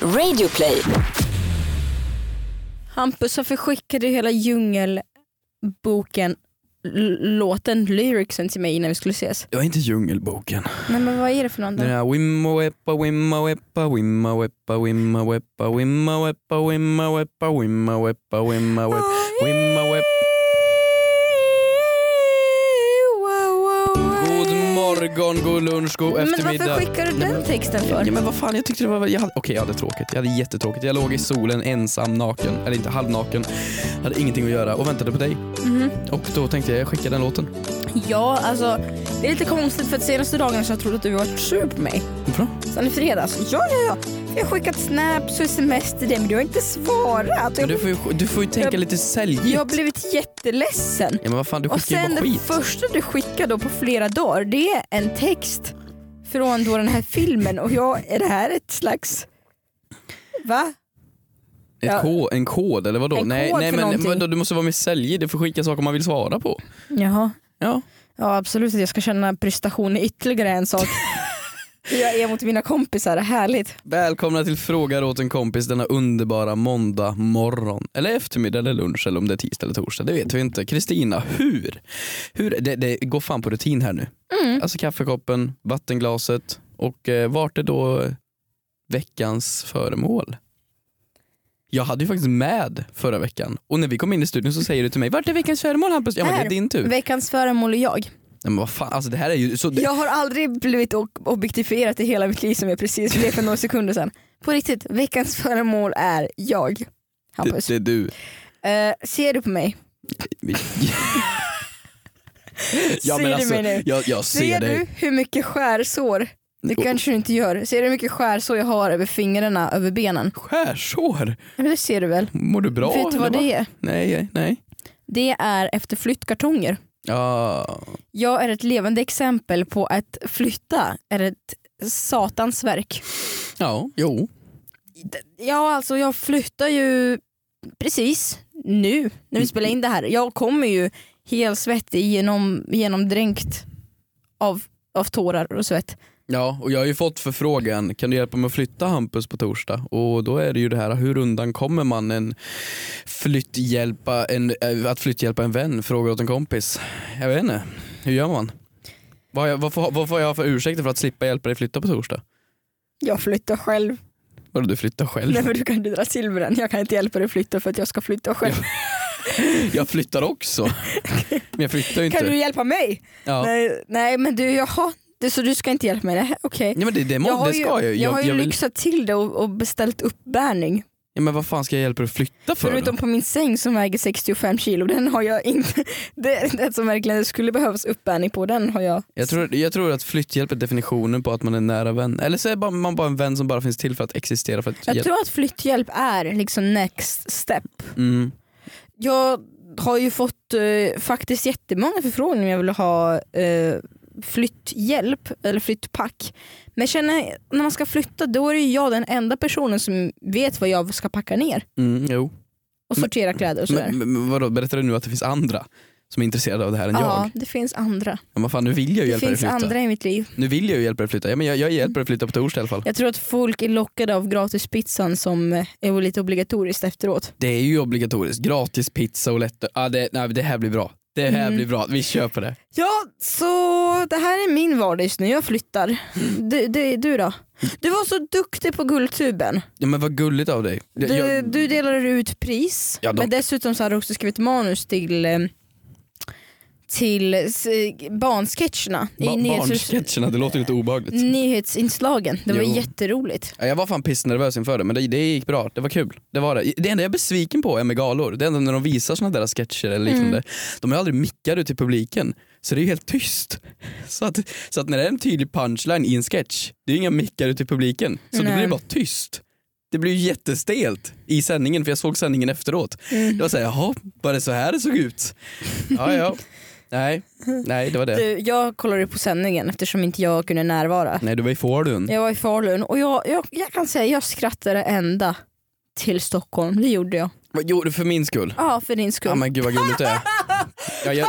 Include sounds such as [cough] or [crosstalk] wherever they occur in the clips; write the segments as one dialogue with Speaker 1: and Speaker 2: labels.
Speaker 1: Radioplay.
Speaker 2: Hampus har förskickade hela djungelboken, l- låten, lyricsen till mig innan vi skulle ses.
Speaker 3: Jag är inte Djungelboken.
Speaker 2: Nej men vad är det för någon då?
Speaker 3: Den här wimma weppa wimma weppa wimma weppa wimma weppa wimma weppa wimma weppa wimma weppa wimma weppa wimma
Speaker 2: eh,
Speaker 3: weppa God morgon, god lunch, god
Speaker 2: Men varför
Speaker 3: eftermiddag.
Speaker 2: skickar du den texten
Speaker 3: Ja
Speaker 2: för?
Speaker 3: men vad fan jag tyckte det var, jag hade, okej jag hade tråkigt, jag hade jättetråkigt. Jag låg i solen ensam naken, eller inte halvnaken, hade ingenting att göra och väntade på dig.
Speaker 2: Mhm.
Speaker 3: Och då tänkte jag, jag skickar den låten.
Speaker 2: Ja, alltså det är lite konstigt för att senaste dagarna så har jag trott att du har varit sur på mig.
Speaker 3: Bra.
Speaker 2: Sen i fredags, ja ja ja. Jag har skickat snaps och sms till dig men du har inte svarat.
Speaker 3: Men
Speaker 2: Jag,
Speaker 3: du får ju, du får ju tänka
Speaker 2: Jag-
Speaker 3: lite säljigt.
Speaker 2: jag har blivit jätteledsen.
Speaker 3: Ja men vad fan du
Speaker 2: Och
Speaker 3: skickar ju
Speaker 2: sen
Speaker 3: bara
Speaker 2: det
Speaker 3: skit.
Speaker 2: första du skickar då på flera dagar det är en text från då den här filmen och jag, är det här ett slags... Va?
Speaker 3: Ett
Speaker 2: Ja.
Speaker 3: ko- en kod eller vadå?
Speaker 2: En
Speaker 3: nej,
Speaker 2: kod
Speaker 3: nej
Speaker 2: för
Speaker 3: men
Speaker 2: någonting.
Speaker 3: vadå, du måste vara mer säljig, du får skicka saker man vill svara på.
Speaker 2: Jaha.
Speaker 3: Ja.
Speaker 2: Ja absolut att jag ska känna prestation i ytterligare en [laughs] sak. Hur jag är mot mina kompisar, härligt.
Speaker 3: Välkomna till Frågar åt en kompis denna underbara måndag morgon. Eller eftermiddag eller lunch eller om det är tisdag eller torsdag, det vet vi inte. Kristina, hur? hur? Det, det går fan på rutin här nu.
Speaker 2: Mm.
Speaker 3: Alltså kaffekoppen, vattenglaset och eh, vart är då veckans föremål? Jag hade ju faktiskt med förra veckan och när vi kom in i studion så säger du till mig, vart är veckans föremål Hampus? Ja men det är
Speaker 2: Här.
Speaker 3: din tur.
Speaker 2: Veckans föremål är jag.
Speaker 3: Nej men vad fan, alltså det här är ju så...
Speaker 2: Jag har aldrig blivit ob- objektifierad i hela mitt liv som jag precis blev för några sekunder sedan. På riktigt, veckans föremål är jag. Hampus.
Speaker 3: Det, det är du.
Speaker 2: Eh, ser du på mig? [laughs]
Speaker 3: ja,
Speaker 2: Ser
Speaker 3: men
Speaker 2: du
Speaker 3: alltså,
Speaker 2: mig nu?
Speaker 3: Jag, jag ser,
Speaker 2: Ser
Speaker 3: dig.
Speaker 2: du hur mycket skärsår? Det
Speaker 3: Och-
Speaker 2: kanske du inte gör. Ser du hur mycket skärsår jag har över fingrarna, över benen?
Speaker 3: Skärsår?
Speaker 2: Ja, Det ser du väl?
Speaker 3: Mår du bra?
Speaker 2: Vet du vad
Speaker 3: eller
Speaker 2: det är?
Speaker 3: Nej, nej.
Speaker 2: Det är efter flyttkartonger.
Speaker 3: Ja,
Speaker 2: Jag är ett levande exempel på att flytta är ett satans verk.
Speaker 3: ja, jo.
Speaker 2: Ja, alltså jag flyttar ju precis nu när
Speaker 3: Mm.
Speaker 2: vi spelar in det här. Jag kommer ju helt svettig genom, genomdränkt av, av tårar och svett.
Speaker 3: Ja, och jag har ju fått förfrågan, kan du hjälpa mig att flytta Hampus på torsdag? Och då är det ju det här, hur undan kommer man en flytthjälpa, en, eh, att flytthjälpa en vän? Frågar åt en kompis. Jag vet inte, hur gör man? Vad, har jag, vad, får, vad får jag för ursäkter för att slippa hjälpa dig flytta på torsdag?
Speaker 2: Jag flyttar själv.
Speaker 3: Vadå du flyttar själv?
Speaker 2: Nej men du kan inte dra silveren. Jag kan inte hjälpa dig flytta för att jag ska flytta själv.
Speaker 3: Jag flyttar också. Men jag flyttar ju inte.
Speaker 2: Kan du hjälpa mig?
Speaker 3: Ja. Nej.
Speaker 2: Nej, nej men du, jaha. Det, så du ska inte hjälpa mig? Nej, Okej.
Speaker 3: men det, det, må,
Speaker 2: Jag har
Speaker 3: det
Speaker 2: ju,
Speaker 3: ska jag, ju.
Speaker 2: jag har ju
Speaker 3: vill-
Speaker 2: lyxat till det och, och beställt uppbärning.
Speaker 3: ja, Men vad fan ska jag hjälpa dig att flytta för? då?
Speaker 2: Förutom på min säng som väger 65 kilo. Den har jag inte. [laughs] Det, det som verkligen skulle behövas uppbärning på den har jag.
Speaker 3: Jag, tror, jag tror att flytthjälp är definitionen på att man är nära vän. Eller så är bara- man bara en vän som bara finns till för att existera. För att
Speaker 2: Jag
Speaker 3: hjälpa.
Speaker 2: tror att flytthjälp är liksom next step.
Speaker 3: Mm.
Speaker 2: Jag har ju fått eh, faktiskt jättemånga förfrågningar om jag vill ha eh, flytthjälp eller flyttpack. Men jag känner när man ska flytta då är det ju jag den enda personen som vet vad jag ska packa ner
Speaker 3: Mm, jo.
Speaker 2: och
Speaker 3: Men-
Speaker 2: sortera kläder och sådär.
Speaker 3: Men, men vadå, berättar du nu att det finns andra som är intresserade av det här än
Speaker 2: Ja,
Speaker 3: jag?
Speaker 2: det finns andra.
Speaker 3: Ja, men fan, nu vill jag ju
Speaker 2: Det
Speaker 3: hjälpa dig
Speaker 2: finns
Speaker 3: flytta.
Speaker 2: andra i mitt liv.
Speaker 3: Nu vill jag ju hjälpa dig flytta. Ja, men jag, jag hjälper dig flytta på torsdag i alla fall.
Speaker 2: Jag tror att folk är lockade av gratispizzan som eh, är lite obligatoriskt efteråt.
Speaker 3: Det är ju obligatoriskt. Gratis pizza och lätt... Ah, det, nej, det här blir bra. Det här
Speaker 2: Mm.
Speaker 3: blir bra. Vi köper det.
Speaker 2: Ja, så det här är min vardag just nu. Jag flyttar. Du, du, du då? Du var så duktig på Guldtuben.
Speaker 3: Ja, men vad gulligt av dig. Jag-
Speaker 2: Du,
Speaker 3: jag-
Speaker 2: du delade ut pris,
Speaker 3: Ja, de-
Speaker 2: men dessutom så har du också skrivit manus till eh, till s- barnsketcherna i Mm.
Speaker 3: Ba-
Speaker 2: nyhets-
Speaker 3: Barnsketcherna, det låter lite obehagligt.
Speaker 2: nyhetsinslagen. Det var
Speaker 3: Jo.
Speaker 2: jätteroligt.
Speaker 3: Ja, Jag var fan pissnervös inför det men det, det gick bra, det var kul. Det, var det. det enda jag är besviken på är med galor, det enda när de visar sådana där sketcher eller
Speaker 2: Mm.
Speaker 3: liknande, de har aldrig mickar ut till publiken så det är ju helt tyst. [laughs] Så att, så att när det är en tydlig punchline i en sketch, det är ju inga mickar ut till publiken så då
Speaker 2: Nej.
Speaker 3: blir det bara tyst. Det blir ju jättestelt i sändningen för jag såg sändningen efteråt.
Speaker 2: Mm.
Speaker 3: Det var såhär, jaha, var det så här det såg ut?
Speaker 2: [laughs]
Speaker 3: Ja, ja. Nej, nej det var det.
Speaker 2: Du, eh, jag kollade på sändningen eftersom inte jag kunde närvara.
Speaker 3: Nej, du var i Falun.
Speaker 2: Jag var i Falun och jag, jag, jag kan säga jag skrattade ända till Stockholm. Det gjorde jag.
Speaker 3: Vad gjorde du för min skull?
Speaker 2: Ja, för din skull.
Speaker 3: Ja men gud vad gulligt det är. Ja, jag, jag...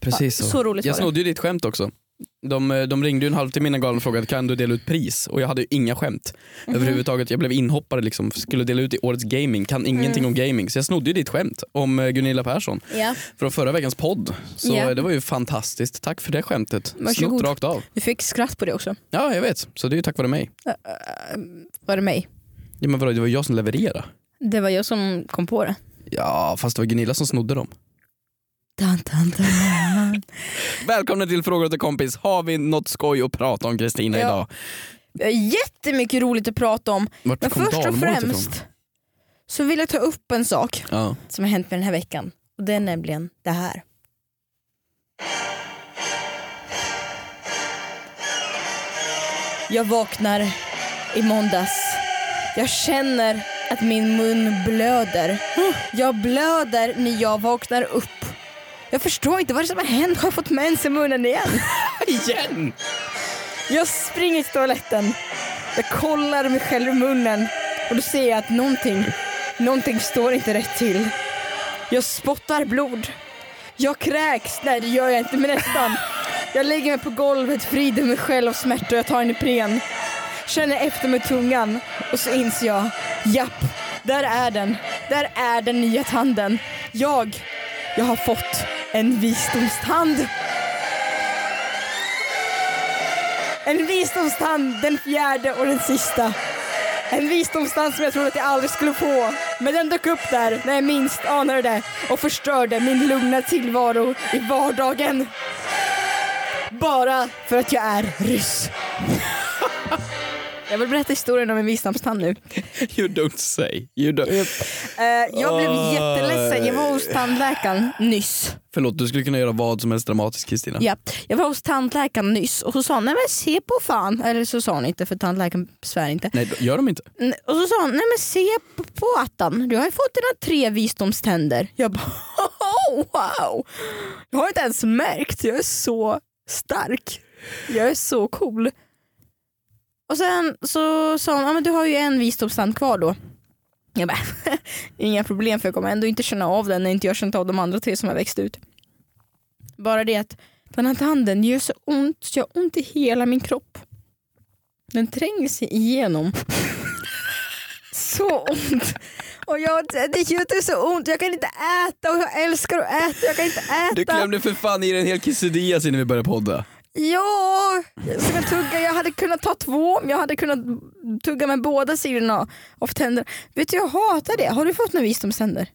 Speaker 3: Precis så.
Speaker 2: Så roligt
Speaker 3: jag
Speaker 2: var det.
Speaker 3: snodde ju ditt skämt också. De, eh, de ringde ju en halvtimme innan galan och frågade kan du dela ut pris och jag hade ju inga skämt
Speaker 2: Mhm.
Speaker 3: överhuvudtaget. Jag blev inhoppare liksom, skulle dela ut i årets gaming, kan
Speaker 2: Mm.
Speaker 3: ingenting om gaming. Så jag snodde ju ditt skämt om eh, Gunilla Persson
Speaker 2: Ja.
Speaker 3: från förra veckans podd. Så
Speaker 2: Ja.
Speaker 3: eh, det var ju fantastiskt. Tack för det skämtet.
Speaker 2: Varsågod.
Speaker 3: Snott rakt av.
Speaker 2: Du fick skratt på det också.
Speaker 3: Ja, jag vet. Så det är ju tack vare mig.
Speaker 2: Var det mig?
Speaker 3: Ja, men vadå, det var ju jag som levererade.
Speaker 2: Det var jag som kom på det.
Speaker 3: Ja, fast det var Gunilla som snodde dem.
Speaker 2: Dan, dan, dan.
Speaker 3: Välkomna till Frågor till kompis. Har vi något skoj att prata om Kristina
Speaker 2: Ja.
Speaker 3: idag?
Speaker 2: Vi har Eh, jättemycket roligt att prata om.
Speaker 3: Vart
Speaker 2: Men
Speaker 3: kom
Speaker 2: först och
Speaker 3: dalmålet ifrån?
Speaker 2: främst så vill jag ta upp en sak
Speaker 3: Ja.
Speaker 2: som har hänt mig den här veckan. Och det är nämligen det här. Jag vaknar i måndags. Jag känner att min mun blöder. Jag blöder när jag vaknar upp. Jag förstår inte vad det är som har hänt. Har jag fått mens i munnen igen?
Speaker 3: Igen!
Speaker 2: Jag springer till toaletten. Jag kollar mig själv i munnen och då ser jag att någonting, någonting står inte rätt till. Jag spottar blod. Jag kräks. Nej, det gör jag inte, men nästan. Jag lägger mig på golvet, vrider mig själv av smärta och jag tar en Ipren. Känner efter med tungan och så inser jag. Japp, där är den. Där är den nya tanden. Jag, jag har fått en visdomstand. En visdomstand, den fjärde och den sista. En visdomstand som jag trodde att jag aldrig skulle få. Men den dök upp där när jag minst anade det och förstörde min lugna tillvaro i vardagen. Bara för att jag är ryss. Jag vill berätta historien om en visdomstand nu.
Speaker 3: You don't say. You don't.
Speaker 2: Eh, jag blev
Speaker 3: Oj.
Speaker 2: jätteledsen. Jag var hos tandläkaren nyss.
Speaker 3: Förlåt, du skulle kunna göra vad som helst dramatiskt Kristina.
Speaker 2: Ja. Jag var hos tandläkaren nyss och så sa hon, nej men se på fan. Eller så sa hon inte för tandläkaren svär inte.
Speaker 3: Nej, då- gör de inte.
Speaker 2: Mm, Och så sa hon, nej men se på, på attan, du har ju fått dina tre visdomständer. Jag bara, [laughs] "Oh, wow! Jag har inte ens märkt, jag är så stark. Jag är så cool. Och sen så sa hon, ja men du har ju en visdomstand kvar då. Jag bara, [laughs] inga problem för jag kommer ändå inte känna av den när inte jag känt av de andra tre som har växt ut. Bara det att den här tanden gör så ont, så jag har ont i hela min kropp. Den tränger sig igenom. [laughs] Så ont. Och jag, det gör så ont. Jag kan inte äta och jag älskar att äta. Jag kan inte äta.
Speaker 3: Du klämde för fan i dig en hel quesadillas innan vi började podda.
Speaker 2: Ja, som jag tugga. Jag hade kunnat ta två om jag hade kunnat tugga med båda sidorna av tänderna. Vet du, jag hatar det. Har du fått några visdomständer?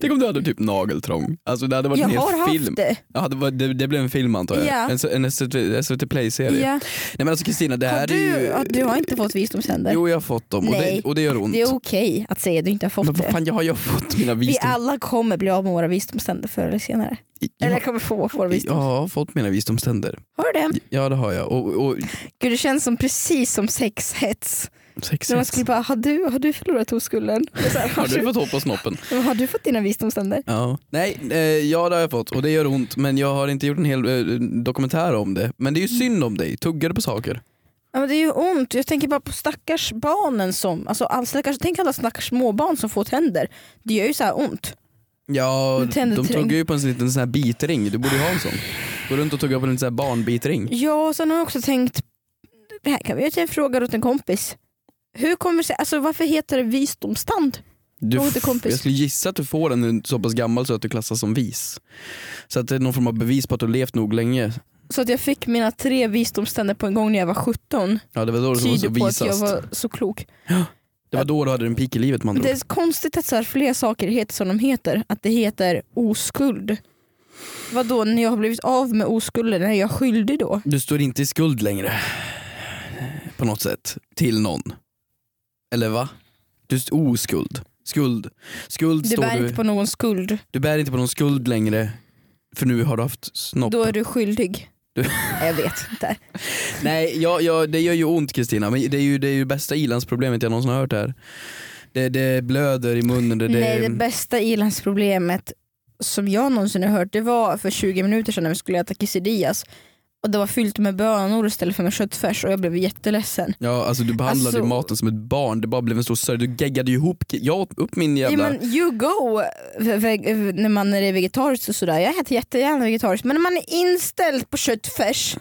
Speaker 3: Tänk om du hade typ nageltrång. Alltså det hade varit
Speaker 2: Jag
Speaker 3: en hel
Speaker 2: har haft
Speaker 3: film.
Speaker 2: det.
Speaker 3: Ja, det, var, det, det blev en film antar jag.
Speaker 2: Ja.
Speaker 3: En, s- en SVT, SVT Play-serie.
Speaker 2: Ja.
Speaker 3: Nej men alltså Kristina, det här
Speaker 2: Har du,
Speaker 3: är ju...
Speaker 2: ja, du har inte fått visdomständer.
Speaker 3: Jo jag har fått dem och,
Speaker 2: Nej.
Speaker 3: det, och det gör ont.
Speaker 2: Det är okej att säga att du inte har
Speaker 3: men
Speaker 2: fått
Speaker 3: vad
Speaker 2: det.
Speaker 3: fan jag har jag fått mina
Speaker 2: Vi
Speaker 3: visdom...
Speaker 2: alla kommer bli av med våra visdomständer förr eller senare.
Speaker 3: Jag,
Speaker 2: Eller kommer få våra
Speaker 3: jag
Speaker 2: visdom.
Speaker 3: har fått mina visdomständer.
Speaker 2: Har du det?
Speaker 3: Ja det har jag. Och, och
Speaker 2: Gud, det känns som precis som sexhets.
Speaker 3: sex,
Speaker 2: När man skulle bara, har du, har du förlorat oskulden? Och så här,
Speaker 3: Har du fått hår
Speaker 2: [laughs]
Speaker 3: på snoppen?
Speaker 2: Har du fått dina visdomständer?
Speaker 3: Ja. Nej, eh, ja det har jag fått och det gör ont men jag har inte gjort en hel eh, dokumentär om det. Men det är ju
Speaker 2: Mm.
Speaker 3: synd om dig, tuggar du på saker?
Speaker 2: Ja, men det är ju ont. Jag tänker bara på stackars barnen som, alltså all stackars, tänk alla stackars småbarn som får tänder. Det gör ju så här ont.
Speaker 3: Ja,
Speaker 2: Men tänder
Speaker 3: de
Speaker 2: träng-
Speaker 3: tuggar ju på en sån liten sån här bitring, du borde ju ha en sån. Gå runt och tugga på en liten sån här barnbitring.
Speaker 2: Ja, sen har jag också tänkt, det här kan vi göra till en fråga åt en kompis. Hur kommer det sig, alltså varför heter det visdomstand?
Speaker 3: Du,
Speaker 2: Fråga till kompis.
Speaker 3: Jag skulle gissa att du får den när du är så pass gammal så att du klassas som vis. Så att det är någon form av bevis på att du har levt nog länge.
Speaker 2: Så att jag fick mina tre visdomständer på en gång när jag var 17
Speaker 3: Ja, det var då du var så
Speaker 2: tyder på att jag
Speaker 3: visast.
Speaker 2: var så klok.
Speaker 3: Det var då du hade din peak i livet man
Speaker 2: Det är konstigt att så här, fler saker heter som de heter, att det heter oskuld. Vadå, när jag har blivit av med oskulden, är jag skyldig då?
Speaker 3: Du står inte i skuld längre. På något sätt. Till någon. Eller va? Du är oskuld. Skuld. Skuld
Speaker 2: Du
Speaker 3: står
Speaker 2: bär
Speaker 3: du...
Speaker 2: inte på någon skuld.
Speaker 3: Du bär inte på någon skuld längre. För nu har du haft snopp.
Speaker 2: Då är du skyldig.
Speaker 3: Du-
Speaker 2: Jag vet inte.
Speaker 3: Nej, jag, jag, det gör ju ont Kristina. Men det är ju det är ju bästa ilandsproblemet jag någonsin har hört här. Det, det blöder i munnen. [laughs] Det, det...
Speaker 2: Nej, det bästa ilandsproblemet som jag någonsin har hört det var för 20 minuter sedan när vi skulle äta quesadillas. och det var fyllt med bönor istället för med köttfärs och jag blev jätteledsen.
Speaker 3: Ja, alltså du behandlade ju
Speaker 2: Alltså-
Speaker 3: maten som ett barn, det bara blev en stor sörja. Du geggade ju ihop, jag åt upp min
Speaker 2: Ja,
Speaker 3: jävla...
Speaker 2: men you go v- v- när man är vegetariskt och sådär. Jag äter jättegärna vegetariskt men när man är inställd på köttfärs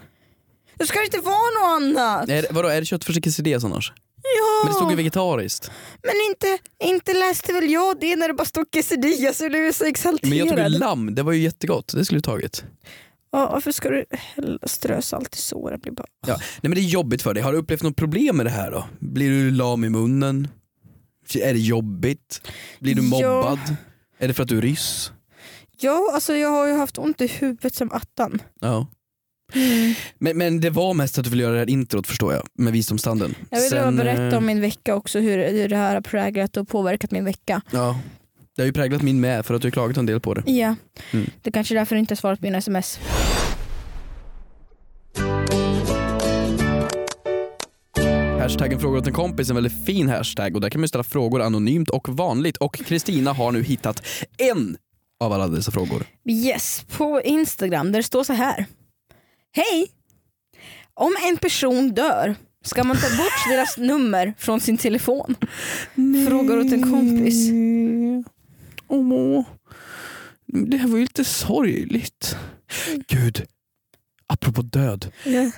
Speaker 2: då ska det inte vara något annat.
Speaker 3: Är, vadå, är det köttfärs i quesadillas annars?
Speaker 2: Ja.
Speaker 3: Men det stod ju vegetariskt.
Speaker 2: Men inte, inte läste väl jag det när det bara stod quesadillas och blev så exalterad.
Speaker 3: Men jag tog ju lamm, det var ju jättegott. Det skulle du tagit.
Speaker 2: Ja, varför ska du hälla- strö salt i såren? Blir bara...
Speaker 3: Ja. Nej men det är jobbigt för dig. Har du upplevt något problem med det här då? Blir du lam i munnen? Är det jobbigt? Blir du
Speaker 2: Ja.
Speaker 3: mobbad? Är det för att du är ryss?
Speaker 2: Ja, alltså jag har ju haft ont i huvudet som attan.
Speaker 3: Ja.
Speaker 2: Mm.
Speaker 3: Men, men det var mest att du ville göra det här introt förstår jag, med visdomstanden.
Speaker 2: Jag vill bara
Speaker 3: Sen,
Speaker 2: berätta
Speaker 3: eh,
Speaker 2: om min vecka också, hur, hur det här har präglat och påverkat min vecka.
Speaker 3: Ja. Det har ju präglat min med för att du har klagat en del på det.
Speaker 2: Ja,
Speaker 3: Mm.
Speaker 2: det är kanske är därför du inte har svarat på mina sms.
Speaker 3: Hashtaggen frågar åt en kompis är en väldigt fin hashtag och där kan man ju ställa frågor anonymt och vanligt och Kristina har nu hittat en av alla dessa frågor.
Speaker 2: Yes, på Instagram där det står så här. Hej! Om en person dör, ska man ta [laughs] bort deras nummer från sin telefon? Frågar åt en kompis.
Speaker 3: Åh, det här var ju lite sorgligt. Gud, apropå död.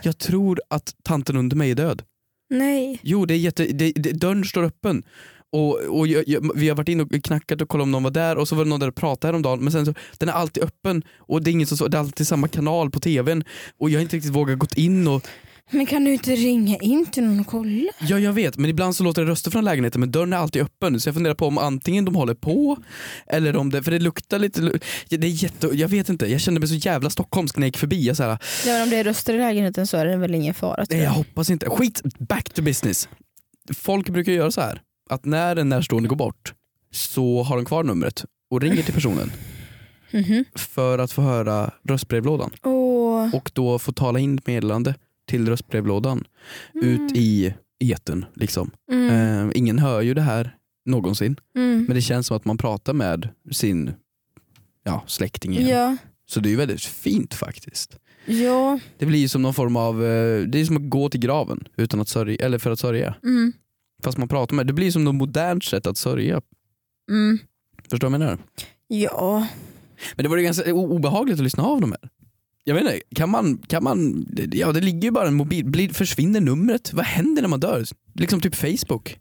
Speaker 3: Jag tror att tanten under mig är död.
Speaker 2: Nej.
Speaker 3: Jo, det är jätte, det, det, dörren står öppen. Och, och jag, jag, vi har varit inne och knackat och kollat om någon var där och så var det någon där och pratade häromdagen men sen så, den är alltid öppen och det är, ingen som, så- det är alltid samma kanal på tvn och jag har inte riktigt vågat gått in och
Speaker 2: Men kan du inte ringa in till någon och kolla?
Speaker 3: Ja jag vet men ibland så låter det röster från lägenheten men dörren är alltid öppen så jag funderar på om antingen de håller på eller om det, för det luktar lite, lu- ja, det är jätte, jag vet inte, jag kände mig så jävla stockholmsk när jag gick förbi. Jag, så här,
Speaker 2: Ja, men om det är röster i lägenheten så är det väl ingen fara. tror
Speaker 3: nej, jag
Speaker 2: jag.
Speaker 3: hoppas inte, skit, back to business. Folk brukar göra så här att när en närstående går bort så har de kvar numret och ringer till personen
Speaker 2: Mhm.
Speaker 3: för att få höra röstbrevlådan
Speaker 2: Åh.
Speaker 3: och då få tala in ett meddelande till röstbrevlådan ut i etern liksom.
Speaker 2: Mm.
Speaker 3: Eh, ingen hör ju det här någonsin.
Speaker 2: Mm.
Speaker 3: Men det känns som att man pratar med sin ja, släkting igen.
Speaker 2: Ja.
Speaker 3: Så det är ju väldigt fint faktiskt.
Speaker 2: Ja.
Speaker 3: Det blir ju som någon form av, eh, det är som att gå till graven utan att sörja, eller för att sörja.
Speaker 2: Mm.
Speaker 3: Fast man pratar med, det blir som något modernt sätt att sörja.
Speaker 2: Mm.
Speaker 3: Förstår du vad jag menar?
Speaker 2: Ja.
Speaker 3: Men det var ju ganska o- obehagligt att lyssna av de här. Jag vet inte, kan man, kan man, det- ja det ligger ju bara en mobil, blir, försvinner numret? Vad händer när man dör? Liksom typ Facebook.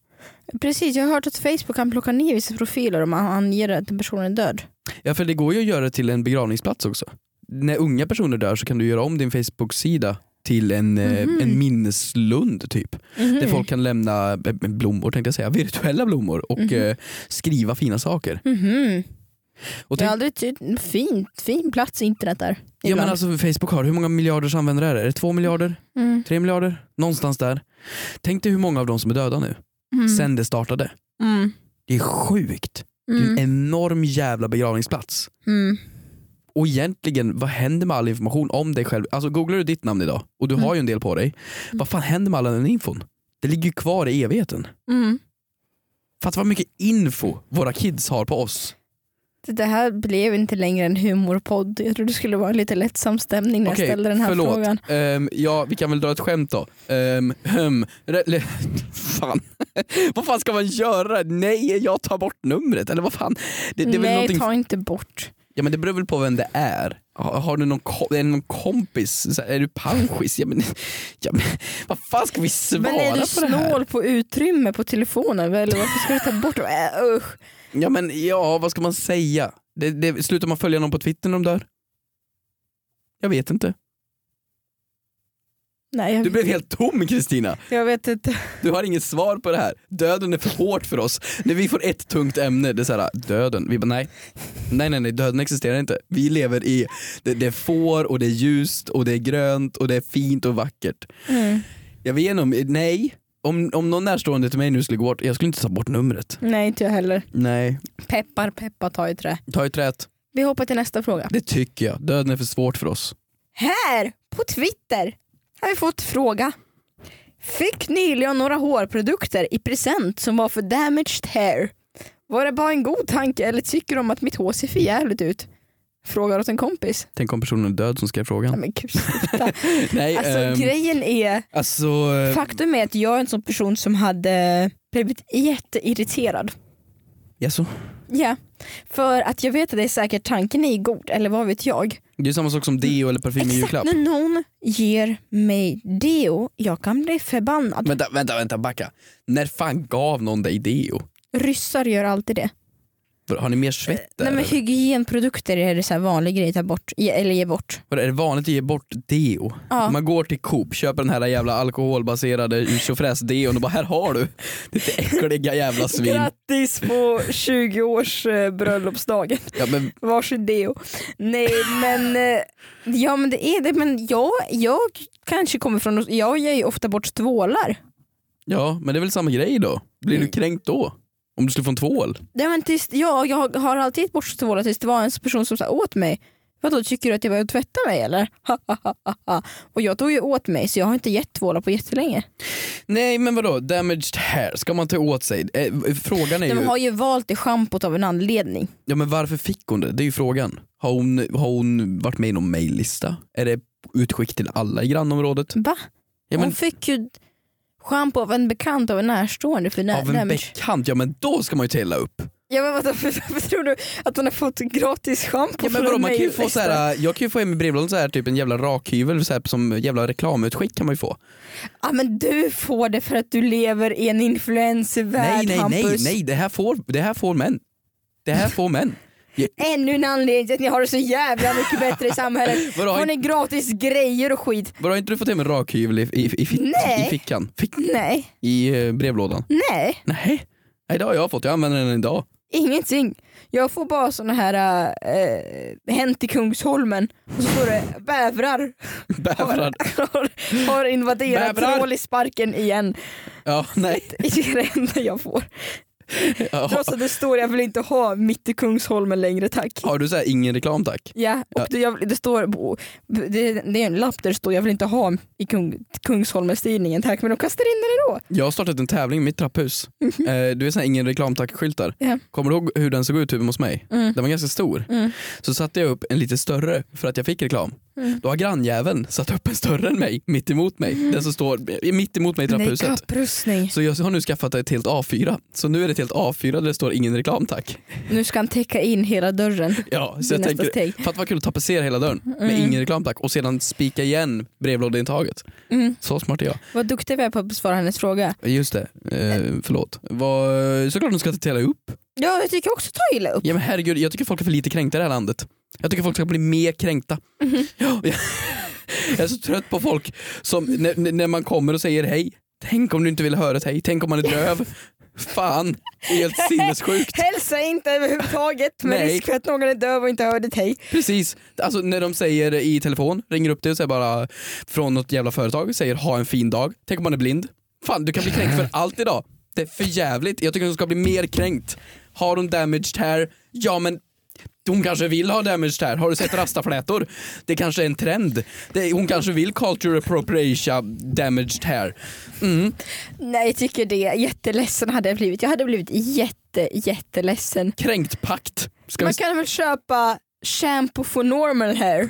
Speaker 2: Precis, jag har hört att Facebook kan plocka ner vissa profiler om man anger att en person är död.
Speaker 3: Ja för det går ju att göra till en begravningsplats också. När unga personer dör så kan du göra om din Facebook-sida till en, eh,
Speaker 2: Mhm.
Speaker 3: en minneslund typ.
Speaker 2: Mhm.
Speaker 3: Där folk kan lämna eh, blommor tänkte jag säga, virtuella blommor och
Speaker 2: Mhm.
Speaker 3: eh, skriva fina saker.
Speaker 2: Mhm.
Speaker 3: Och
Speaker 2: Det är
Speaker 3: tänk,
Speaker 2: aldrig ty- fint, fin plats internet där.
Speaker 3: ja, men alltså, Facebook har, hur många miljarder användare är det? Är det två miljarder?
Speaker 2: mm.
Speaker 3: Tre miljarder? Någonstans där. Tänk dig hur många av dem som är döda nu,
Speaker 2: Mm.
Speaker 3: sen det startade.
Speaker 2: Mm.
Speaker 3: Det är sjukt. Det är en
Speaker 2: Mm.
Speaker 3: enorm jävla begravningsplats.
Speaker 2: Mm.
Speaker 3: Och egentligen, vad händer med all information om dig själv? Alltså googlar du ditt namn idag, och du
Speaker 2: Mm.
Speaker 3: har ju en del på dig, vad fan händer med all den infon? Det ligger ju kvar i evigheten.
Speaker 2: Mm.
Speaker 3: Fatta vad mycket info våra kids har på oss.
Speaker 2: Det- Det här blev inte längre en humorpodd. Jag trodde det skulle vara en lite lättsam stämning när jag ställde den här
Speaker 3: förlåt.
Speaker 2: frågan.
Speaker 3: Ehm, ja, vi kan väl dra ett skämt då. Um, um, re, le, [laughs] fan. vad fan ska man göra? Nej, jag tar bort numret. Eller vad fan? Det, det är väl
Speaker 2: Nej,
Speaker 3: någonting...
Speaker 2: ta inte bort.
Speaker 3: Ja, men det beror väl på vem det är. Har, har du någon, ko- är det någon kompis? Så
Speaker 2: [laughs]
Speaker 3: här, är du panschis? Ja, men, ja, men, vad fan ska vi svara
Speaker 2: Men är du
Speaker 3: på det här?
Speaker 2: snål på utrymme på telefonen? Eller varför ska du ta bort dem? Äh, usch.
Speaker 3: Ja, men, ja, vad ska man säga? Det, det, slutar man följa någon på Twitter när de dör? Jag vet inte.
Speaker 2: Nej, jag,
Speaker 3: Du blev helt tom Kristina.
Speaker 2: jag vet inte.
Speaker 3: Du har inget svar på det här. Döden är för hårt för oss. När vi får ett tungt ämne, det är såhär, döden. Vi bara nej. Nej nej nej, döden existerar inte. Vi lever i, det, det är får och det är ljust och det är grönt och det är fint och vackert.
Speaker 2: Mm.
Speaker 3: Jag vet inte om, nej. Om, om någon närstående till mig nu skulle gå bort, jag skulle inte ta bort numret.
Speaker 2: Nej, inte jag heller.
Speaker 3: Nej.
Speaker 2: Peppar, peppar, ta i trä.
Speaker 3: Ta i trät.
Speaker 2: Vi hoppar till nästa fråga.
Speaker 3: Det tycker jag. Döden är för svårt för oss.
Speaker 2: Här på Twitter har vi fått fråga. Fick nyligen några hårprodukter i present som var för damaged hair. Var det bara en god tanke eller tycker de att mitt hår ser för jävligt ut? Frågar åt en kompis.
Speaker 3: Tänk om personen är död som skrev
Speaker 2: Nej,
Speaker 3: frågan.
Speaker 2: men gud, sluta.
Speaker 3: Nej,
Speaker 2: alltså,
Speaker 3: ehm,
Speaker 2: grejen är,
Speaker 3: alltså eh,
Speaker 2: faktum är att jag är en sån person som hade blivit jätteirriterad.
Speaker 3: jaså?
Speaker 2: Ja, för att jag vet att det är säkert tanken är god, eller vad vet jag.
Speaker 3: det är samma sak som deo eller parfym
Speaker 2: Exakt
Speaker 3: i julklapp.
Speaker 2: när någon ger mig deo, jag kan bli förbannad.
Speaker 3: Vänta, vänta, vänta, backa. När fan gav någon dig deo?
Speaker 2: Ryssar gör alltid det.
Speaker 3: Har ni mer svett där?
Speaker 2: Eh, Nej, men
Speaker 3: eller?
Speaker 2: hygienprodukter är det så här vanlig grej att ta bort, ge- eller ge bort.
Speaker 3: Vadå, Är det vanligt att ge bort deo?
Speaker 2: Ja.
Speaker 3: Man går till Coop, köper den här jävla alkoholbaserade tjofräs-deon och bara här har du ditt
Speaker 2: [laughs]
Speaker 3: äckliga jävla svin.
Speaker 2: Grattis på 20 års eh, bröllopsdagen.
Speaker 3: Ja, men,
Speaker 2: Varsin deo. Nej men, eh, ja men det är det. Men jag, jag kanske kommer från, jag ger ju ofta bort tvålar.
Speaker 3: ja, men det är väl samma grej då? Blir
Speaker 2: Mm.
Speaker 3: du kränkt då? Om du skulle få en tvål?
Speaker 2: Nej, men tills, ja, jag har alltid gett bort tvålar tills det var en person som sa åt mig. Vadå tycker du att jag behöver tvätta mig eller? och jag tog ju åt mig så jag har inte gett tvålar på jättelänge.
Speaker 3: Nej men vadå, damaged hair, ska man ta åt sig? Eh, frågan är ju,
Speaker 2: De har ju valt det schampot av en anledning.
Speaker 3: ja, men varför fick hon det? Det är ju frågan. Har hon, har hon varit med i någon maillista? Är det utskick till alla i grannområdet?
Speaker 2: Va?
Speaker 3: Ja,
Speaker 2: Hon
Speaker 3: men,
Speaker 2: fick ju schampo av en bekant av en närstående för nä-
Speaker 3: av en
Speaker 2: damage.
Speaker 3: bekant, ja men då ska man ju tälla upp.
Speaker 2: Ja men vadå, [laughs] varför tror du att hon har fått gratis schampo
Speaker 3: Ja, men
Speaker 2: från
Speaker 3: vadå, man kan ju
Speaker 2: mig?
Speaker 3: få så här, jag kan ju få hem i brevlådan så här, typ en jävla rakhyvel så här, som jävla reklamutskick kan man ju få.
Speaker 2: Ja men du får det för att du lever i en
Speaker 3: Nej
Speaker 2: influencervärld
Speaker 3: nej
Speaker 2: Hampus.
Speaker 3: nej, nej det, här får, det här får män. Det här får män.
Speaker 2: Ännu en anledning till att ni har det så jävla mycket bättre i
Speaker 3: [laughs]
Speaker 2: samhället.
Speaker 3: Vadå,
Speaker 2: Får
Speaker 3: har,
Speaker 2: ni gratis grejer och skit?
Speaker 3: vadå, har inte du fått hem en rakhyvel i, i, i, fick-
Speaker 2: Nej.
Speaker 3: i fickan? Fick,
Speaker 2: Nej,
Speaker 3: I eh, brevlådan?
Speaker 2: nej,
Speaker 3: Nej. nej, det har jag fått. Jag använder den idag.
Speaker 2: ingenting. Jag får bara såna här äh, Hänt i Kungsholmen och så står det bävrar
Speaker 3: Bävrar.
Speaker 2: har, har, har invaderat
Speaker 3: Bävrar.
Speaker 2: trålisparken igen.
Speaker 3: Ja, nej.
Speaker 2: Det är det enda jag får.
Speaker 3: Ja.
Speaker 2: Trots att det står jag vill inte ha mitt i Kungsholmen längre tack.
Speaker 3: Har du så här, ingen reklam tack?
Speaker 2: Ja, och det, jag, det står på- det, det är en lapp där det står jag vill inte ha i Kung, Kungsholmens tidningen tack men de kastar in den ändå.
Speaker 3: Jag har startat en tävling i mitt trapphus. Eh, du vet sån här ingen reklam tack-skyltar.
Speaker 2: Mhm. Ja.
Speaker 3: Kommer du ihåg hur den såg ut hemma hos mig?
Speaker 2: Mm.
Speaker 3: Den var ganska stor.
Speaker 2: Mm.
Speaker 3: Så satte jag upp en lite större för att jag fick reklam.
Speaker 2: Mm.
Speaker 3: Då har grannjäveln satt upp en större än mig, mitt emot mig. Den som står mitt emot mig i trapphuset.
Speaker 2: Nej, kapprustning.
Speaker 3: Så jag har nu skaffat ett helt A4. Så nu är det ett helt A4 där det står ingen reklam tack.
Speaker 2: Nu ska han täcka in hela dörren.
Speaker 3: Ja,
Speaker 2: Det
Speaker 3: så
Speaker 2: är
Speaker 3: jag
Speaker 2: nästa
Speaker 3: tänker,
Speaker 2: steg.
Speaker 3: fatta vad kul att tapetsera hela dörren med ingen reklam tack och sedan spika igen brevlådeintaget.
Speaker 2: Mm.
Speaker 3: Så smart är jag.
Speaker 2: Vad duktig vi är på att besvara hennes fråga.
Speaker 3: Just det, eh, förlåt. Vad- såklart de ska tälla upp.
Speaker 2: Ja, jag tycker också ta illa upp.
Speaker 3: Ja, men herregud, jag tycker folk är för lite kränkta i det här landet. Jag tycker folk ska bli mer kränkta. Ja, [laughs] jag- jag är så trött på folk som när, när- när man kommer och säger hej. Tänk om du inte vill höra ett hej, tänk om man är döv. Fan, det är helt sinnessjukt.
Speaker 2: Hälsa inte överhuvudtaget med
Speaker 3: Nej.
Speaker 2: risk för att någon är döv och inte hör ditt hej.
Speaker 3: Precis, alltså när de säger i telefon, ringer upp dig och säger bara från något jävla företag, säger ha en fin dag. Tänk om man är blind. Fan du kan bli kränkt för allt idag. Det är för jävligt. Jag tycker hon ska bli mer kränkt. Har hon damaged hair? Ja men hon kanske vill ha damaged hair. Har du sett rastaflätor? Det kanske är en trend. Det, hon kanske vill culture appropriation damaged hair. Mm.
Speaker 2: Nej, jag tycker det. Jätteledsen hade jag blivit. Jag hade blivit jätte, jätteledsen.
Speaker 3: Kränkt pakt. Ska vi,
Speaker 2: Man kan väl köpa shampoo for normal hair?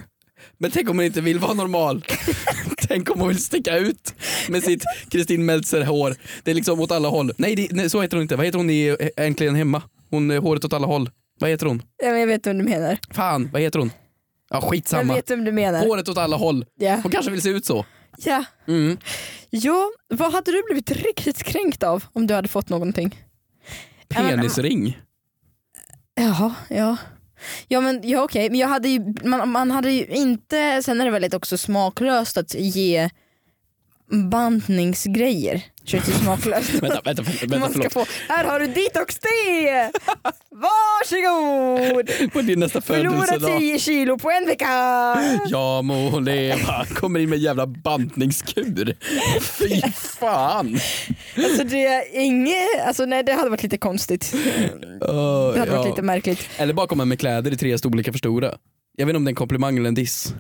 Speaker 3: men tänk om hon inte vill vara normal.
Speaker 2: [laughs]
Speaker 3: tänk om hon vill sticka ut med sitt Kristin Meltzer-hår. Det är liksom åt alla håll. Nej, det, nej så heter hon inte. Vad heter hon i Ä- Äntligen Hemma? Hon är håret åt alla håll. Vad heter hon?
Speaker 2: Ja, men Jag vet vem du menar.
Speaker 3: Fan, vad heter hon? Ja,
Speaker 2: Jag
Speaker 3: skitsamma.
Speaker 2: vet vem du menar.
Speaker 3: Håret åt alla håll.
Speaker 2: Ja.
Speaker 3: Hon kanske vill se ut så.
Speaker 2: Ja.
Speaker 3: Mm.
Speaker 2: ja, vad hade du blivit riktigt kränkt av om du hade fått någonting? Ja, men-
Speaker 3: Penisring.
Speaker 2: Jaha, ja. Ja men ja, okej, men jag hade ju, man, man hade ju inte, sen är det väldigt också smaklöst att ge bantningsgrejer. Känns ju typ smaklöst.
Speaker 3: Vänta, vänta, för- [laughs] vänta
Speaker 2: man ska
Speaker 3: förlåt.
Speaker 2: få, här har du
Speaker 3: [laughs]
Speaker 2: detox-te! Varsågod!
Speaker 3: På din nästa
Speaker 2: Förlora
Speaker 3: födelsedag.
Speaker 2: 10 kilo på en vecka!
Speaker 3: Ja må hon leva. Kommer in med jävla
Speaker 2: [laughs]
Speaker 3: bantningskur. Fy fan.
Speaker 2: Alltså det är inget, alltså nej det hade varit lite konstigt.
Speaker 3: Åh,
Speaker 2: Det hade varit
Speaker 3: ja.
Speaker 2: lite märkligt.
Speaker 3: Eller bara komma med kläder i tre storlekar för stora. Jag vet inte om det är en komplimang eller en diss.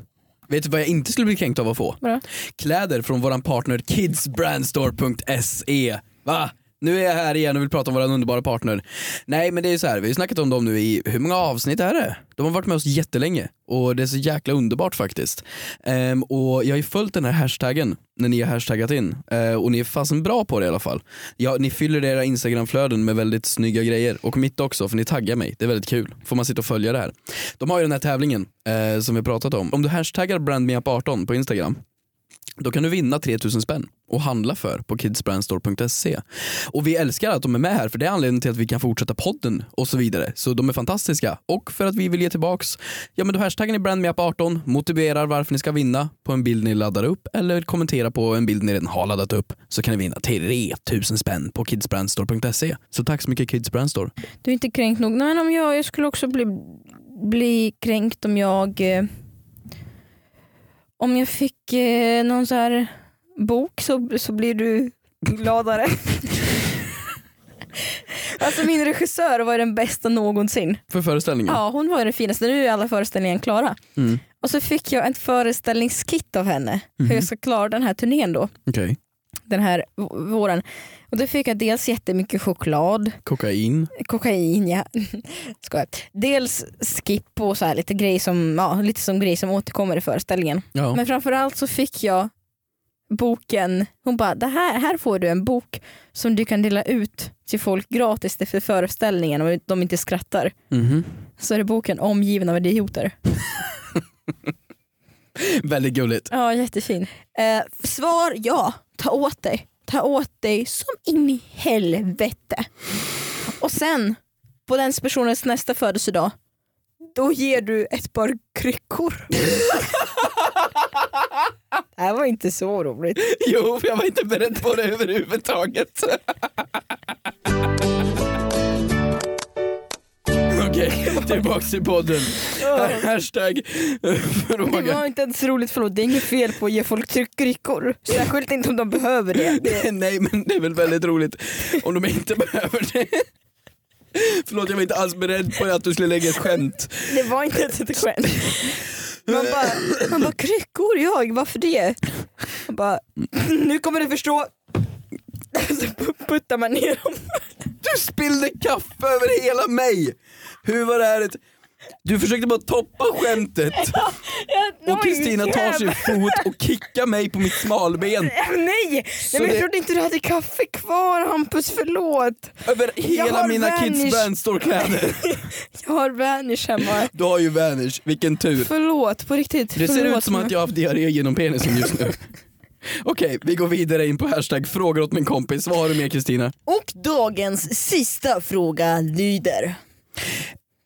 Speaker 3: Vet du vad jag inte skulle bli kränkt av att få?
Speaker 2: Vadå?
Speaker 3: Kläder från våran partner kidsbrandstore.se. E. Va? nu är jag här igen och vill prata om vår underbara partner. Nej men det är så här, vi har ju snackat om dem nu i, hur många avsnitt är det? De har varit med oss jättelänge och det är så jäkla underbart faktiskt. Ehm, och jag har ju följt den här hashtaggen när ni har hashtaggat in Eh, och ni är fasen bra på det i alla fall. Ja, ni fyller era instagramflöden med väldigt snygga grejer och mitt också för ni taggar mig, det är väldigt kul. Får man sitta och följa det här. De har ju den här tävlingen eh, som vi har pratat om. Om du hashtaggar brandmeup18 på instagram då kan du vinna 3000 spänn och handla för på kidsbrandstore.se. Och vi älskar att de är med här för det är anledningen till att vi kan fortsätta podden och så vidare. Så de är fantastiska. Och för att vi vill ge tillbaks, ja men då hashtaggen är brandmeup18, motiverar varför ni ska vinna på en bild ni laddar upp eller kommentera på en bild ni redan har laddat upp så kan ni vinna 3000 spänn på kidsbrandstore.se. Så tack så mycket Kidsbrandstore.
Speaker 2: Du är inte kränkt nog. Nej, men om jag, jag skulle också bli, bli kränkt om jag eh, om jag fick eh, någon så här bok så, så blir du gladare. [laughs] alltså min regissör var ju den bästa någonsin.
Speaker 3: För föreställningen.
Speaker 2: Ja, hon var ju den finaste. Nu är alla föreställningar klara.
Speaker 3: Mm.
Speaker 2: Och så fick jag ett föreställningskit av henne hur jag ska klara den här turnén då,
Speaker 3: Okej.
Speaker 2: den här v- våren. Och då fick jag dels jättemycket choklad,
Speaker 3: Kokain.
Speaker 2: kokain, ja. [laughs] Skojar. Dels skip och så här lite grejer som, ja, lite som grejer som återkommer i föreställningen.
Speaker 3: Ja.
Speaker 2: Men framförallt så fick jag boken, hon bara det här, här får du en bok som du kan dela ut till folk gratis efter föreställningen om de inte skrattar.
Speaker 3: Mhm.
Speaker 2: Så är det boken Omgiven av idioter.
Speaker 3: Väldigt gulligt.
Speaker 2: Ja jättefin. Eh, svar ja, ta åt dig. Ta åt dig som in i helvete. Och sen på den personens nästa födelsedag då ger du ett par kryckor. [laughs] det här var inte så roligt.
Speaker 3: [laughs] Jo, för jag var inte beredd på det överhuvudtaget. [laughs] Okej, tillbaks till podden. Hashtag eh,
Speaker 2: Det var
Speaker 3: fråga.
Speaker 2: inte ens roligt, förlåt. Det är inget fel på att ge folk tryckryckor. Särskilt inte om de behöver det.
Speaker 3: [laughs] Nej men det är väl väldigt roligt om de inte [laughs] behöver det. Förlåt jag var inte alls beredd på att du skulle lägga ett skämt.
Speaker 2: Det var inte ens ett skämt. Man bara, man bara kryckor jag, varför det? Man bara, nu kommer du förstå. Så pu- puttar man ner dem.
Speaker 3: Du spillde kaffe över hela mig. Hur var det här ett... Du försökte bara toppa skämtet och Kristina tar sin fot och kickar mig på mitt smalben
Speaker 2: Äh, Nej, nej men jag
Speaker 3: det-
Speaker 2: trodde inte du hade kaffe kvar Hampus, förlåt.
Speaker 3: över hela
Speaker 2: har
Speaker 3: mina kids
Speaker 2: Vanish.
Speaker 3: brandstore-kläder.
Speaker 2: Jag har vanish hemma.
Speaker 3: [laughs] Du har ju Vanish, vilken tur.
Speaker 2: Förlåt, på riktigt.
Speaker 3: Det ser
Speaker 2: förlåt.
Speaker 3: ut som att jag har haft diarré genom penisen just [laughs] nu. Okej, vi går vidare in på hashtag frågor åt min kompis. Vad har du mer Kristina?
Speaker 2: Och dagens sista fråga lyder.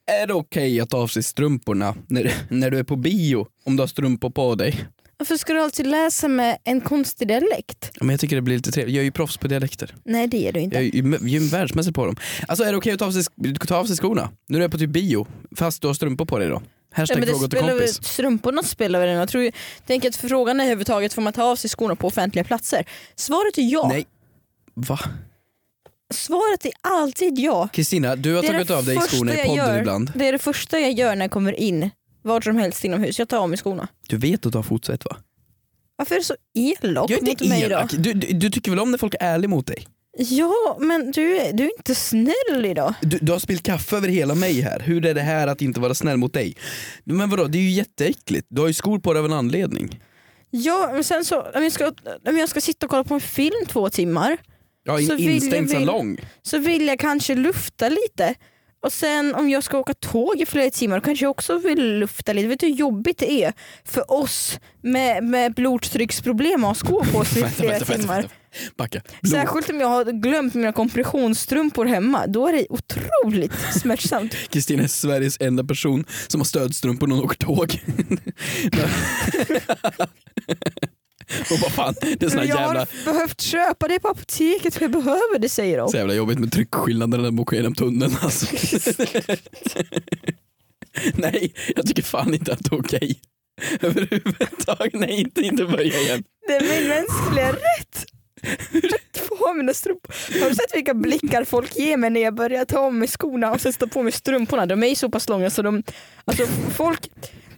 Speaker 3: Är det okej att ta av sig strumporna när, när du är på bio om du har strumpor på dig?
Speaker 2: Varför ska du alltid läsa med en konstig dialekt?
Speaker 3: Ja, Men jag tycker det blir lite trevligt. Jag är ju proffs på dialekter.
Speaker 2: Nej det är du inte.
Speaker 3: Jag är ju jag är ju världsmästare på dem. Alltså är det okej att ta av, sig, ta av sig skorna när du är på typ bio fast du har strumpor på dig då? Hashtag
Speaker 2: men det
Speaker 3: frågor till
Speaker 2: spelar väl,
Speaker 3: kompis.
Speaker 2: strumporna spelar väl in? Jag tror ju, tänk att frågan är överhuvudtaget får man ta av sig skorna på offentliga platser? Svaret är ja.
Speaker 3: Nej. Va?
Speaker 2: Svaret är alltid ja.
Speaker 3: Kristina, du har
Speaker 2: Det är
Speaker 3: tagit
Speaker 2: det
Speaker 3: av dig
Speaker 2: första
Speaker 3: skorna i
Speaker 2: jag
Speaker 3: podden
Speaker 2: gör.
Speaker 3: ibland.
Speaker 2: Det är det första jag gör när jag kommer in, vart som helst inomhus. Jag tar av mig skorna.
Speaker 3: Du vet att du har fotsvett va?
Speaker 2: Varför är du så elak
Speaker 3: Jag är
Speaker 2: mot
Speaker 3: inte
Speaker 2: mig
Speaker 3: elak.
Speaker 2: idag?
Speaker 3: Du, du, du tycker väl om när folk är ärliga mot dig?
Speaker 2: Ja, men du, är- du är inte snäll idag.
Speaker 3: Du, du har spillt kaffe över hela mig här. Hur är det här att inte vara snäll mot dig? Men vadå, det är ju jätteäckligt. Du har ju skor på dig av en anledning.
Speaker 2: Ja, men sen så, om jag, ska, om jag ska sitta och kolla på en film två timmar
Speaker 3: Ja, i
Speaker 2: Så
Speaker 3: en
Speaker 2: vill jag
Speaker 3: instängd
Speaker 2: vill-
Speaker 3: salong.
Speaker 2: så vill jag kanske lufta lite. Och sen om jag ska åka tåg i flera timmar då kanske jag också vill lufta lite. Vet du hur jobbigt det är för oss med, med blodtrycksproblem att ha skor på sig i
Speaker 3: [laughs] Vänta,
Speaker 2: flera
Speaker 3: vänta, vänta,
Speaker 2: timmar?
Speaker 3: vänta. Backa. Blod.
Speaker 2: Särskilt om jag har glömt mina kompressionsstrumpor hemma. Då är det otroligt
Speaker 3: [laughs]
Speaker 2: smärtsamt.
Speaker 3: Kristina är Sveriges enda person som har stödstrumpor när hon åker
Speaker 2: [laughs]
Speaker 3: tåg. [laughs] Och vad fan, det är såna
Speaker 2: jag
Speaker 3: jävla,
Speaker 2: har behövt köpa det på apoteket för jag behöver det säger de.
Speaker 3: så jävla jobbigt med tryckskillnader när de åker genom tunneln
Speaker 2: [laughs]
Speaker 3: alltså. Nej, jag tycker fan inte att det är okej. Överhuvudtaget, nej inte, inte börja igen.
Speaker 2: Det är min mänskliga rätt. Att få ha mina strumpor. Har du sett vilka blickar folk ger mig när jag börjar ta av mig skorna och sen sätta på mig strumporna? De är ju så pass långa så de, alltså folk,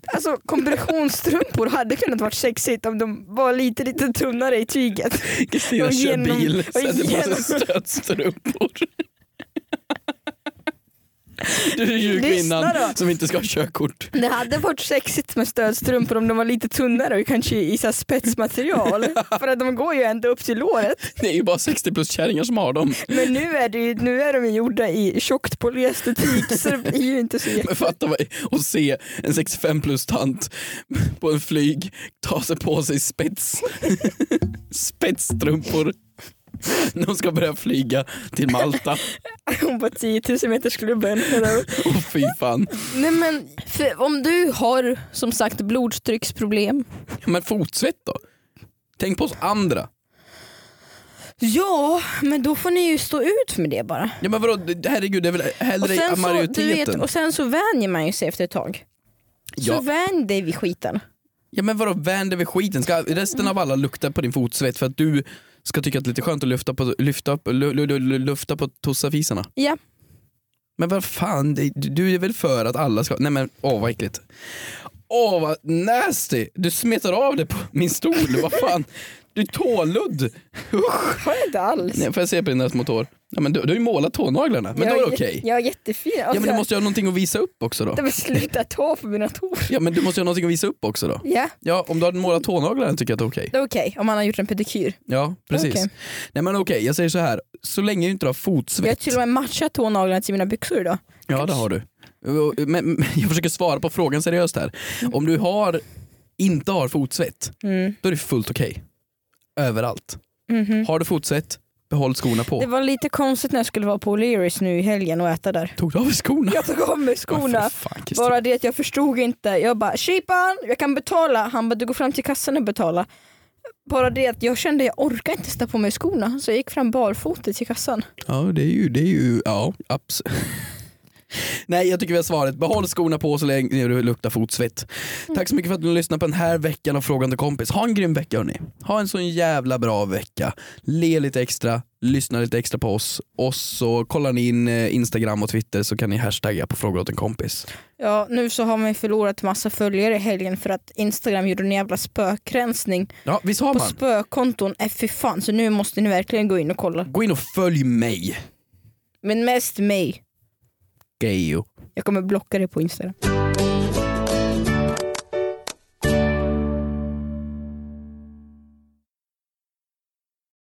Speaker 2: Alltså kompressionsstrumpor hade kunnat varit sexigt om de var lite lite tunnare i tyget.
Speaker 3: Kristina
Speaker 2: Och
Speaker 3: kör
Speaker 2: genom-
Speaker 3: bil,
Speaker 2: och
Speaker 3: sätter på
Speaker 2: genom-
Speaker 3: sig stödstrumpor.
Speaker 2: [laughs]
Speaker 3: Du är ju
Speaker 2: Lyssna
Speaker 3: kvinnan
Speaker 2: då.
Speaker 3: som inte ska ha körkort.
Speaker 2: Det hade varit sexigt med stödstrumpor om de var lite tunnare och kanske i så här spetsmaterial. För att de går ju ända upp till låret.
Speaker 3: Det är ju bara 60 plus kärringar som har dem.
Speaker 2: Men nu är, det ju, nu är de ju gjorda i tjockt polyester tyg så det är ju inte så jätte...
Speaker 3: Men fatta vad, och se en 65 plus tant på en flyg ta sig på sig spets spetsstrumpor när hon ska börja flyga till Malta.
Speaker 2: Hon var 10 000 metersklubben.
Speaker 3: Och fy fan.
Speaker 2: [laughs] Nej men för om du har som sagt blodtrycksproblem.
Speaker 3: Men fotsvett då? Tänk på oss andra.
Speaker 2: Ja men då får ni ju stå ut med det bara.
Speaker 3: Ja men vadå, det- herregud det är väl
Speaker 2: Och
Speaker 3: hellre
Speaker 2: sen, så, du vet,
Speaker 3: majoriteten.
Speaker 2: och sen så vänjer man ju sig efter ett tag. Så
Speaker 3: ja.
Speaker 2: vänj dig vid skiten.
Speaker 3: ja men vadå vänd dig vid skiten, ska resten av alla lukta på din fotsvett för att du ska tycka att det är lite skönt att lyfta på, lyfta, upp- lu- lu- lu- lufta på tossafisarna?
Speaker 2: Ja.
Speaker 3: Men vad fan, det- du- du är väl för att alla ska... Nej men åh vad äckligt. Åh vad nasty! Du smetar av det på min stol, vad fan. Du är tåludd. Usch.
Speaker 2: Har inte alls.
Speaker 3: Nej, får jag se på dina små tår? Ja, men du, du har ju målat tånaglarna, men då är det okej.
Speaker 2: Jag är jättefin.
Speaker 3: Ja men du måste ju ha någonting att visa upp också då.
Speaker 2: jag... Sluta ta på mina tår.
Speaker 3: Ja men du måste ju ha någonting att visa upp också då.
Speaker 2: Ja,
Speaker 3: Ja om du har målat tånaglarna tycker jag att det är okej.
Speaker 2: det är okej om man har gjort en pedikyr.
Speaker 3: Ja precis.
Speaker 2: Okej.
Speaker 3: Nej men okej, jag säger så här. Så länge du inte har
Speaker 2: Jag har
Speaker 3: fotsvett.
Speaker 2: till och med matchat tånaglarna till mina byxor idag.
Speaker 3: Ja det har du. Men, men [laughs] jag försöker svara på frågan seriöst här. Om du har, inte har fotsvett,
Speaker 2: Mm.
Speaker 3: då är det fullt okej. Överallt.
Speaker 2: Mhm.
Speaker 3: Har du fotsvett, behåll skorna
Speaker 2: Det
Speaker 3: på.
Speaker 2: var lite konstigt när jag skulle vara på O'Learys nu i helgen och äta där.
Speaker 3: Tog du av dig skorna?
Speaker 2: Jag tog av mig
Speaker 3: [laughs] Ja,
Speaker 2: skorna.
Speaker 3: för fan, Kristin.
Speaker 2: Bara det att jag förstod inte. Jag bara “Sheepan, jag kan betala”. Han bara “Du går fram till kassan och betala”. Bara det att jag kände jag orkar inte sätta på mig skorna så jag gick fram barfota till kassan.
Speaker 3: Ja, det är ju, det är ju, ja, absolut. [laughs] Nej, jag tycker vi har svaret. Behåll skorna på så länge du luktar fotsvett. Tack så mycket för att ni lyssnade på den här veckan av Frågan till kompis. Ha en grym vecka hörni. Ha en sån jävla bra vecka. Le lite extra, lyssna lite extra på oss och så kollar ni in eh, Instagram och Twitter så kan ni hashtagga på Fråga åt en kompis.
Speaker 2: Ja, nu så har man ju förlorat massa följare i helgen för att Instagram gjorde en jävla spökrensning
Speaker 3: Ja, visst har
Speaker 2: på
Speaker 3: man?
Speaker 2: spökonton. Äh, fy fan, så nu måste ni verkligen gå in och kolla.
Speaker 3: Gå in och följ mig,
Speaker 2: Men mest mig.
Speaker 3: Gejo.
Speaker 2: Jag kommer blocka dig på Instagram.